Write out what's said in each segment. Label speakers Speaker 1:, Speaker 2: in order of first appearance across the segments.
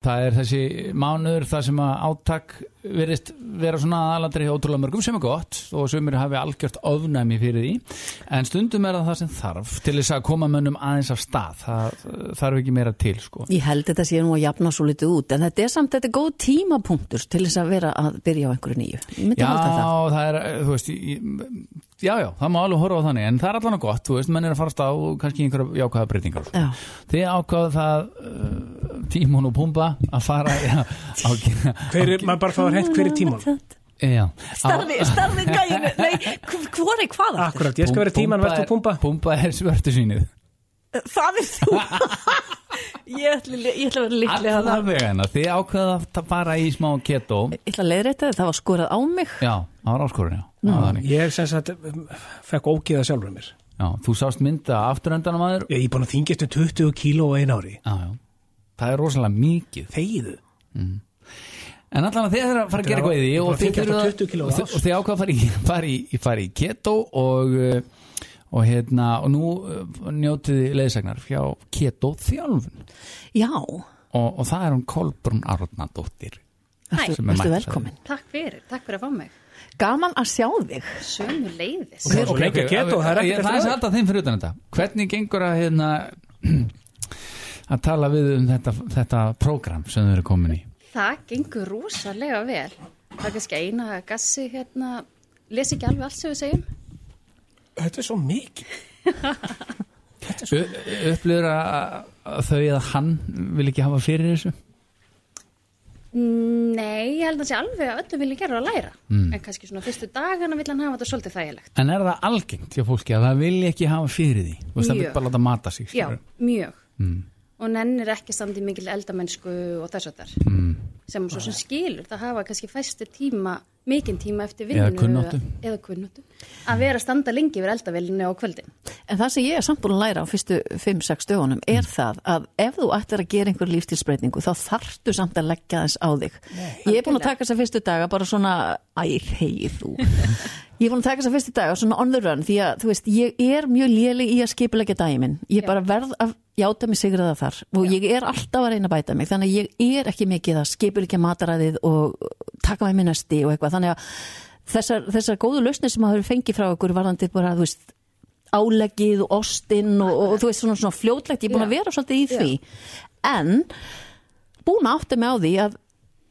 Speaker 1: Það er þessi mánuður það sem að áttak verist vera svona aðalandri hjá ótrúlega mörgum sem er gott og sumir hafi algjört ofnæmi fyrir því en stundum er það það sem þarf til þess að koma mönnum aðeins af stað það eh, þarf ekki meira til sko
Speaker 2: Ég held þetta sé nú að jafna svo litið út en þetta er samt þetta er góð tímapunktur til þess að vera að byrja á einhverju nýju. Ég myndi
Speaker 1: Já,
Speaker 2: halda það.
Speaker 1: það er, eh, þú veist, ég- já, já, það má alveg horfa á þannig, en það er allan að gott, þú veist, menn er að fara af stað og kannski einhverja jákvæða breytingar. og svona.
Speaker 2: Já.
Speaker 1: Þið ákvaðu það uh, tímun og pumba að fara, já, á,
Speaker 3: Hver er, maður bara fáið hreint hver er tíman
Speaker 1: já, á,
Speaker 2: Mm, Starði, starði gæinu, nei, hvori hvað aftur?
Speaker 3: Akkurat, ég skal vera tíman, verður þú pumpa
Speaker 1: Pumba er svörtu sýnið
Speaker 2: Eh, Það er þú. ég, ætla, ég ætla að vera líklega
Speaker 1: Alla
Speaker 2: það.
Speaker 1: vegana, þið ákveða að ta- fara í smá keto
Speaker 2: Ég ætla að leiðrétta þetta, það var skorað á mig.
Speaker 1: Já, það var áskorun, já, mm. þannig,
Speaker 3: Ég sem sagt, um, fekk ógeða sjálfur mér
Speaker 1: já Þú sást mynda afturöndanum aður
Speaker 3: Ég er búin að þingist um 20 kíló á einu ári
Speaker 1: Já, já, það er rosalega mikið
Speaker 3: Þegiðu
Speaker 1: En allan að þið þurfa að fara að
Speaker 3: Þetta
Speaker 1: gera
Speaker 3: er
Speaker 1: eitthvað í því
Speaker 3: á-
Speaker 1: og
Speaker 3: bara
Speaker 1: þið
Speaker 3: þykja
Speaker 1: þurfa
Speaker 3: alltaf 20 kíló
Speaker 1: og þið-
Speaker 3: ás.
Speaker 1: og þið ákvað að fara í, fara í, fara í keto og, uh, og hérna og nú uh, njótið þið leiðsagnar hjá keto þjálfun og,
Speaker 2: Já,
Speaker 1: og það er hún Kolbrún Arnardóttir Sem er
Speaker 4: Hæ,
Speaker 2: ertu
Speaker 1: mætt.
Speaker 2: velkomin.
Speaker 4: takk fyrir, takk fyrir að fá mig
Speaker 2: Gaman að sjá þig.
Speaker 4: Sömu leiðis
Speaker 3: Það er svo lengi að um. keto, það er
Speaker 1: Ég-
Speaker 3: ekkert
Speaker 1: Það er
Speaker 3: eftir
Speaker 1: sem
Speaker 3: það
Speaker 1: alltaf þeim fyrir utan þetta Hvernig gengur að hérna að tala við um þetta, þetta prógram sem þau eru komin í
Speaker 4: Það gengur rosalega vel Það er kannski eina gassi hérna Les ekki alveg allt sem við segjum
Speaker 3: Þetta er svo mikið
Speaker 1: U- Upplifir að að þau eða hann vil ekki hafa fyrir þessu
Speaker 4: Nei, ég held að sé alveg að öllum vilja gera að læra
Speaker 1: Mm.
Speaker 4: En kannski svona fyrstu dagana vill hann hafa þetta svolítið þægilegt
Speaker 1: En er það algengt hjá fólki að það vil ekki hafa fyrir því Þú veist það vil
Speaker 4: Mjög.
Speaker 1: bara láta mata sig
Speaker 4: Já,
Speaker 1: skilurðu?
Speaker 4: mjög
Speaker 1: Mm.
Speaker 4: Og nennir ekki samt í mikil eldamennsku og þess að þar
Speaker 1: mm.
Speaker 4: sem svo sem skilur, það hafa kannski fæstu tíma, mikinn tíma eftir
Speaker 1: Eða
Speaker 4: vinnunum
Speaker 1: kunnáttu.
Speaker 4: eða kunnáttu að vera að standa lengi yfir eldavélinu á kvöldin
Speaker 2: En það sem ég er samt búin að læra á fyrstu 5-6 dögunum er það að ef þú ættir að gera einhver lífstilsbreytingu þá þarftu samt að leggja þess á þig. ég er búin að taka þess að fyrstu daga bara svona, æ, hei þú. ég er búin að taka þess að fyrstu daga svona on the run því að þú veist, ég er mjög léleg í að skipilegja dæmin. Ég bara verð að játa mig sigraða þar og ég er alltaf að reyna að bæta mig þannig að ég er ekki mikið að skipilegja mataræðið og taka mig minnasti og eitthvað þannig að þessar, þessar góðu lausnir sem maður hefur fengið frá okkur varðandi bara, þú veist, áleggið og ostinn og, og, þú veist svona, svona fljótlegt, ég er búin að
Speaker 4: Já.
Speaker 2: vera svolítið í því en búin að átta mig á því að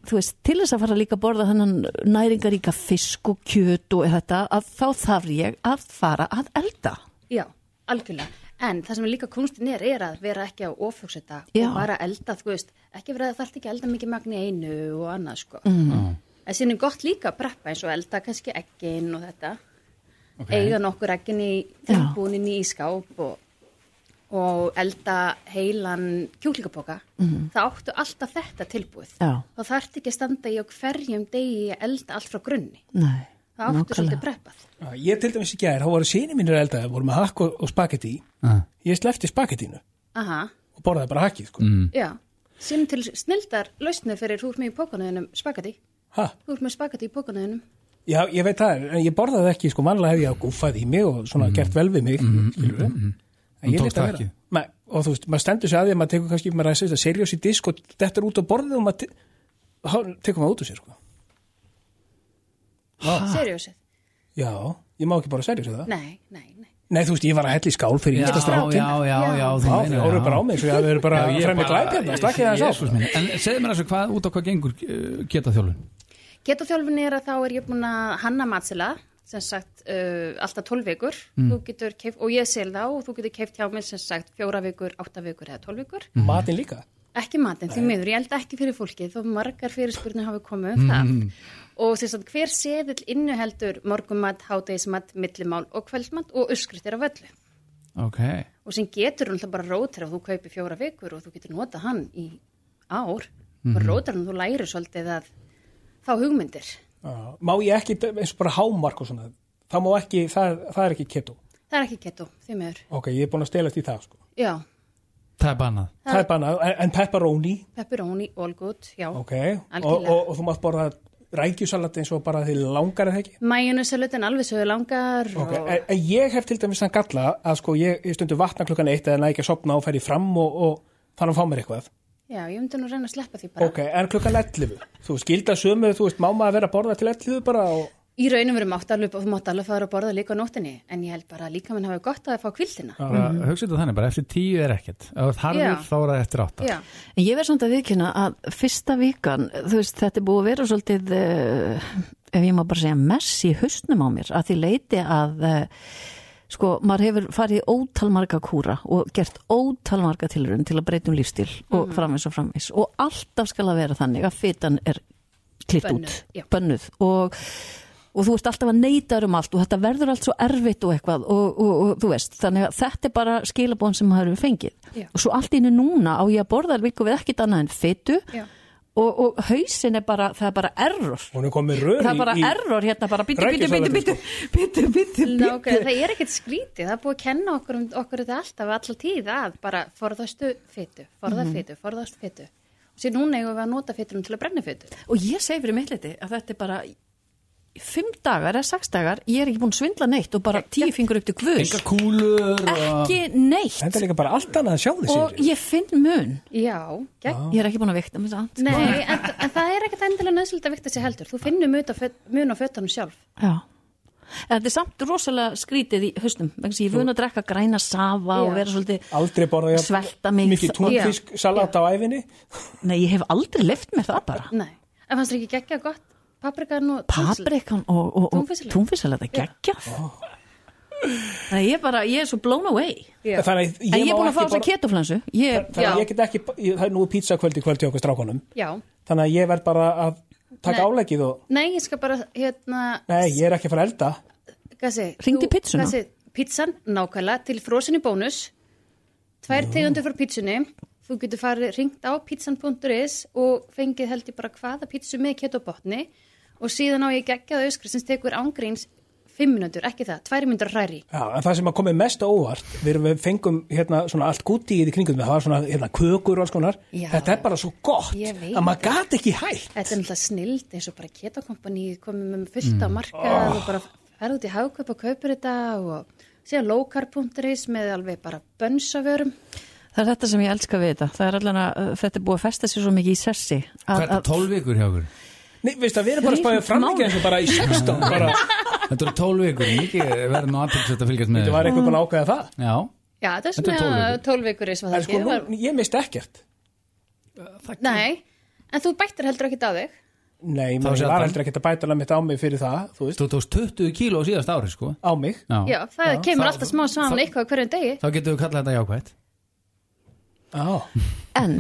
Speaker 2: þú veist, til þess að fara líka að borða þennan næringaríka fisk og kjöt og þetta, að þá þarf ég að fara að elda
Speaker 4: Já, algjörlega en það sem er líka kunstin er, er að vera ekki á ofugseta
Speaker 2: Já.
Speaker 4: og bara elda, þú veist ekki vera að þarf ekki að elda mikið magni einu og annað sko mm. en síðan er gott líka að preppa eins og elda kannski eggin og þetta eiga nokkur eggin í
Speaker 2: Já.
Speaker 4: tilbúnin í skáp og, og elda heilan kjúklingaboka það áttu alltaf þetta tilbúið
Speaker 2: Mhm. Já.
Speaker 4: þá þarf ekki að standa í á hverjum degi að elda allt frá grunni
Speaker 2: Nei,
Speaker 4: það áttu svolítið preppað
Speaker 3: Ég til dæmis í gær, þá voru síni mínir að elda voru með hakk og, og spagetti í.
Speaker 1: Ah.
Speaker 3: Ég slefti spagettínu
Speaker 4: Aha.
Speaker 3: og borðaði bara hakkið sko. mm.
Speaker 4: Já, sem til snildar lausnu fyrir þú ert með í pókanuðinum spagati.
Speaker 3: Ha,
Speaker 4: Þú ert með spagati í pókanuðinum.
Speaker 3: Já, ég veit það, en ég borðaði ekki, sko, mannlega hef ég að gúfað í mig og svona
Speaker 1: Mhm.
Speaker 3: gert vel við mig, mm, skilur við. En
Speaker 1: Þú
Speaker 3: ég
Speaker 1: tókst
Speaker 3: leta
Speaker 1: það
Speaker 3: að vera.
Speaker 1: ekki.
Speaker 3: Ma, og þú veist, maður stendur sér að því að maður tekur kannski, maður ræsist að serjós í disk og þetta er út á borðið og maður, te- þá tekur maður út úr sér, sko.
Speaker 4: Seriósið.
Speaker 3: Já, ég má ekki bara serjós það. Nei.
Speaker 4: Nei, nei, nei.
Speaker 3: þú veist, ég var að hella í skál fyrir
Speaker 1: Já,
Speaker 3: ísta
Speaker 1: já,
Speaker 3: strákin.
Speaker 1: já, já, já, þú
Speaker 3: Já,
Speaker 1: meinar,
Speaker 3: þið orður
Speaker 1: já.
Speaker 3: bara á mig, svo ég hafði bara
Speaker 1: ég
Speaker 3: fremja
Speaker 1: bara-
Speaker 3: glæpjarna, slakkið það sá.
Speaker 1: Jesús minn. En segðu mér þessu, hvað, út á hvað gengur uh, geta þjálfun?
Speaker 4: Getaþjálfun er að þá er ég búin að hanna matsela, sem sagt, uh, alltaf 12 vikur. Þú getur keift, og ég sel þá og þú getur keift hjá mér, sem sagt, fjóra vikur, átta vikur eða 12 vikur.
Speaker 3: Matin
Speaker 1: Mhm.
Speaker 3: líka.
Speaker 4: Ekki matinn, því miður, ég held ekki fyrir fólkið, þó margar fyrirspurnir hafi komið um það. Og sem sagt, hver seðill innuheldur morgumat, hádegismat, millimál og kvöldmat og uppskriftir á völlu.
Speaker 1: Ok,
Speaker 4: og sem getur hún alltaf bara rótir og þú kaupir fjóra vikur og þú getur nota hann í ár
Speaker 3: Mhm.
Speaker 4: og rótir hann og þú lærir svolítið að þá hugmyndir
Speaker 3: Já, Má ég ekki, eins og bara hámark og svona, það má ekki, það, það er ekki keto.
Speaker 4: það er ekki keto, því meður
Speaker 3: Ok, ég er búin að stelast í það, sko.
Speaker 4: já,
Speaker 1: það er bannað
Speaker 3: Það er bannað, en- en pepperoni,
Speaker 4: pepperoni, all good, já
Speaker 3: Ok, og,
Speaker 4: Algjörlega.
Speaker 3: og, og þú mátt borða rækjusalat eins og bara því langar eða ekki?
Speaker 4: majónusalutin alveg sögur langar
Speaker 3: Ok,
Speaker 4: og
Speaker 3: en, en ég hef til dæmis þann galla að sko ég, ég stundu vatna klukkan eitt eða næg ekki að sopna og fer ég fram og, og fara að fá mér eitthvað.
Speaker 4: Já, ég myndi nú reyna að sleppa því bara.
Speaker 3: Ok, en klukkan 11 Þú veist, gilda sömu, þú veist, má maður vera að borða til 11 bara og
Speaker 4: Í raunum verið mátt alveg, þú mátt alveg fara að borða líka á nóttinni, en ég held bara að líka minn hafi gott að fá kvildina.
Speaker 1: bara, mm þetta þannig, bara eftir tíu er ekkert ef þú ert harður
Speaker 4: Mhm. Já.
Speaker 1: þá er það eftir átta
Speaker 4: Já,
Speaker 2: En ég verð samt að viðkynna að fyrsta vikan, þú veist, þetta er búið að vera svolítið, uh, ef ég má bara segja, mess í hausnum á mér, að því leiti að, uh, sko, maður hefur farið í ótal marga kúra og gert ótal marga tilrun til að breyta um lífstíl
Speaker 4: Mhm.
Speaker 2: og framins og framins og alltaf skal að vera þannig að fitan er klitt
Speaker 4: Bönnuð,
Speaker 2: út,
Speaker 4: já.
Speaker 2: bönnuð og og þú ert alltaf að neyta þér um allt og þetta verður allt svo erfitt og eitthvað og, og, og þú veist, þannig að þetta er bara skilabóðan sem maður hefur fengið
Speaker 4: Já.
Speaker 2: og svo allt innu núna á ég að borða alveg ykkur við ekkit annað en fytu
Speaker 4: Já.
Speaker 2: og, og hausin er bara, það er bara error
Speaker 3: hún er komið rör
Speaker 2: það er bara
Speaker 3: í, í
Speaker 2: error hérna bara bítu, bítu,
Speaker 3: Rækjusalatið,
Speaker 2: bítu, bítu, bítu, bítu,
Speaker 4: Nákvæm, það er ekkert skrítið, það er búið að kenna okkur, um- okkur þetta alltaf, alltaf tíð að bara forðastu fytu, forða fytu, forðast fytu. Og sér núna eigum við að nota fytunum til að brenna fytu.
Speaker 2: og ég segi fyrir mitt liti að þetta er bara í fimm dagar eða sex dagar, ég er ekki búin að svindla neitt og bara tíu fingur upp til guðs
Speaker 1: enga kúlur og...
Speaker 2: ekki neitt
Speaker 3: Þetta er líka bara allt annað að sjá
Speaker 2: og
Speaker 3: þessi
Speaker 2: ég finn mun
Speaker 4: Já, Ah, gegn.
Speaker 2: ég er ekki búin að vikta mig samt
Speaker 4: Nei, en, en það er ekkert endilega nöðsult að vikta sér heldur. Þú finnur mun á föt- mun á fötunum sjálf.
Speaker 2: Já. En þetta er samt rosalega skrítið í haustum. vegna þess að Ég er vun að drekka græna safa og
Speaker 4: Já.
Speaker 2: vera svolítið...
Speaker 3: Aldrei borða ég
Speaker 2: Svelta mig.
Speaker 3: mikið túnfisk salat á æfinni
Speaker 2: Nei, ég hef aldrei left mér það bara.
Speaker 4: Nei, en fannst þér ekki geggja gott? Paprikan og
Speaker 2: Paprikan og, og, og
Speaker 4: Túnfisksalat.
Speaker 2: túnfisalega, það geggjað. Nei, ég er bara, ég er svo blown away.
Speaker 4: Já.
Speaker 3: Þannig að
Speaker 2: en ég
Speaker 3: ég,
Speaker 2: er
Speaker 3: má
Speaker 2: búin að fá þess að
Speaker 3: ekki borða
Speaker 2: ketoflensu. Ég,
Speaker 3: Þannig að
Speaker 4: Já.
Speaker 3: ég get ekki, ég, það er nú pizza kvöldi kvöldi okkur strákunum
Speaker 4: Já.
Speaker 3: Þannig að ég verð bara að taka
Speaker 4: Nei.
Speaker 3: álegið og
Speaker 4: Nei, ég skal bara, hérna,
Speaker 3: Nei, ég er ekki að fara að elda
Speaker 4: Gassi,
Speaker 2: Hringdu í pizzuna.
Speaker 4: Gassi, pizzan, nákvæmlega, til frósinni bónus Tvær tegundir frá pizzunni Þú getur farið ringt á pizzan.is og fengið held ég bara hvaða pizzu með ketobotni og síðan á ég geggjað auskri sem tekur ángríns fimm minútur, ekki það, tvær minútur ræri
Speaker 3: Já, en það sem að komið mest á óvart við, erum- við fengum hérna svona allt gúti í því kringum það var svona hérna kökur og alls konar
Speaker 4: Já.
Speaker 3: Þetta er bara svo gott
Speaker 4: Ég veit.
Speaker 3: að maður gat ekki hætt
Speaker 4: Þetta er náttúrulega snild eins og bara ketokompani komið með fullt á markað og bara ferð út í hagkaup og kaupir þetta og síðan lowcar.is með alveg bara bönsavörum
Speaker 2: það er þetta sem ég elska við þetta. Það er allan að uh, þetta er búið að festa sér svo mikið í sessi. að-
Speaker 1: Hvað er
Speaker 2: að-
Speaker 1: 12 vikur hjá okkur?
Speaker 3: Nei, veist að við erum bara að spája framlíkja eins og bara í 16 bara,
Speaker 1: Þetta eru 12 vikur, mikið verður nú aðtöksett að fylgjast með
Speaker 3: Þetta var eitthvað búin að ákveða það
Speaker 1: Já,
Speaker 4: Já,
Speaker 1: Þetta
Speaker 4: þetta er
Speaker 1: er
Speaker 4: svona
Speaker 1: tólf vikur.
Speaker 4: tólveikur eins og
Speaker 3: En
Speaker 4: það
Speaker 3: sko,
Speaker 4: ekki var-
Speaker 3: nú, ég misti ekkert
Speaker 4: Nei, en þú bættir heldur ekkert á þig
Speaker 3: Nei,
Speaker 1: var
Speaker 3: maður
Speaker 1: sjaldan.
Speaker 3: var heldur ekkert að bæta alveg mitt á mig fyrir það, þú veist,
Speaker 1: þú tókst 20 kíló á síðast ári sko
Speaker 3: á mig
Speaker 4: Já, það kemur
Speaker 1: Það-
Speaker 4: alltaf smá svan
Speaker 1: það-
Speaker 4: eitthvað á hverjum degi
Speaker 1: Þá getum við kallað þetta jákvætt
Speaker 3: Já,
Speaker 2: En,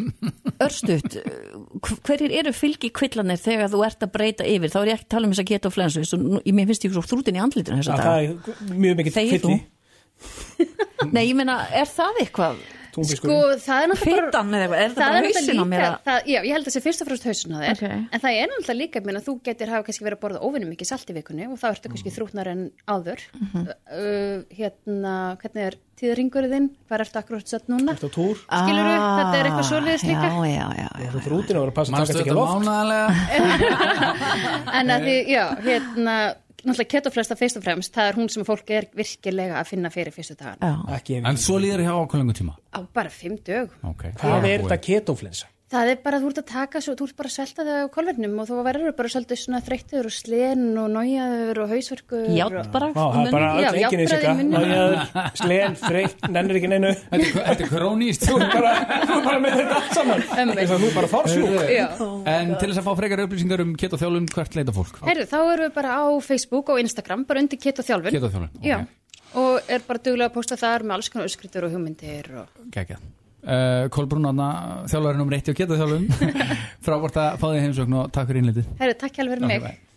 Speaker 2: örstuðt, hverjir eru fylgi kvillanir þegar þú ert að breyta yfir? Þá er ég ekki að tala um þess að geta og flensu. Svo, nú- ég- mér finnst ég svo þrútin í andlitinu þess
Speaker 3: Já,
Speaker 2: að
Speaker 3: það er mjög mikið
Speaker 2: Þegir
Speaker 3: fylli
Speaker 2: Nei, ég meina, er það eitthvað?
Speaker 4: Sko,
Speaker 3: Túnfiskur
Speaker 4: það er náttúrulega bara
Speaker 2: Fitan eða eitthvað? Er það
Speaker 4: Það
Speaker 2: bara
Speaker 4: er
Speaker 2: hausin á mér?
Speaker 4: náttúrulega
Speaker 2: að-
Speaker 4: líka, það, já, ég held að það sé fyrst og fremst hausin á þér,
Speaker 2: Ok.
Speaker 4: en það er náttúrulega líka minn að þú getur hafa kannski verið að borða óvinnum mikið salt í vikunni og þá ertu kannski þrútnar en áður. uh, hérna, hvernig er tíðringurinn þinn? Hvað ertu akkur átt sett núna?
Speaker 3: Þetta á túr,
Speaker 4: Skilurðu? Þetta er eitthvað
Speaker 2: Ah,
Speaker 4: svoleiðis líka.
Speaker 2: Já, já, já, já.
Speaker 3: þú þrútin að vera að passa að
Speaker 1: Manstu
Speaker 3: takast ekki
Speaker 1: þetta
Speaker 3: loft
Speaker 1: mánaðalega?
Speaker 4: En að því, já, hérna, náttúrulega ketoflesta fyrst og fremst, það er hún sem fólk er virkilega að finna fyrir fyrstu dagan.
Speaker 2: já.
Speaker 3: Ekki ef-
Speaker 1: En svo líður hjá okkur lengur tíma
Speaker 4: Á bara fimm dög.
Speaker 1: okay.
Speaker 3: Hvað er þetta ketoflensa?
Speaker 4: Það er bara að þú ert að taka svo, þú ert bara að svelta þig á kolverðnum og þú verður bara svolítið svona þreyttur og slen og nájaður og hausverkur.
Speaker 2: Játn bara.
Speaker 3: Vá, það er bara
Speaker 4: Já,
Speaker 3: öll enginn í sig
Speaker 4: jafnræði í munninum.
Speaker 3: Slen, þreytt, nennir ekki neinu
Speaker 1: Þetta er- þetta er króníst
Speaker 3: Þú er bara, þú er bara með þetta allt saman Þess að þú er bara fórsjúk
Speaker 4: Já.
Speaker 1: En til þess að fá frekar upplýsingar um keto þjálfun Hvert leita fólk?
Speaker 4: Herru, þá erum við bara á Facebook og Instagram, bara undir Keto Þjálfun.
Speaker 1: Keto þjálfun, ok.
Speaker 4: Já, og er bara duglega að posta þar með alls konar öskritur og hugmyndir og...
Speaker 1: Gækjað uh, Kolbrún Anna, þjálfarinn um reytti og keto þjálfun Frábort að fá þig heimsókn og takk fyrir innlitið
Speaker 4: Herru, takk hjálfur mig.
Speaker 1: bye.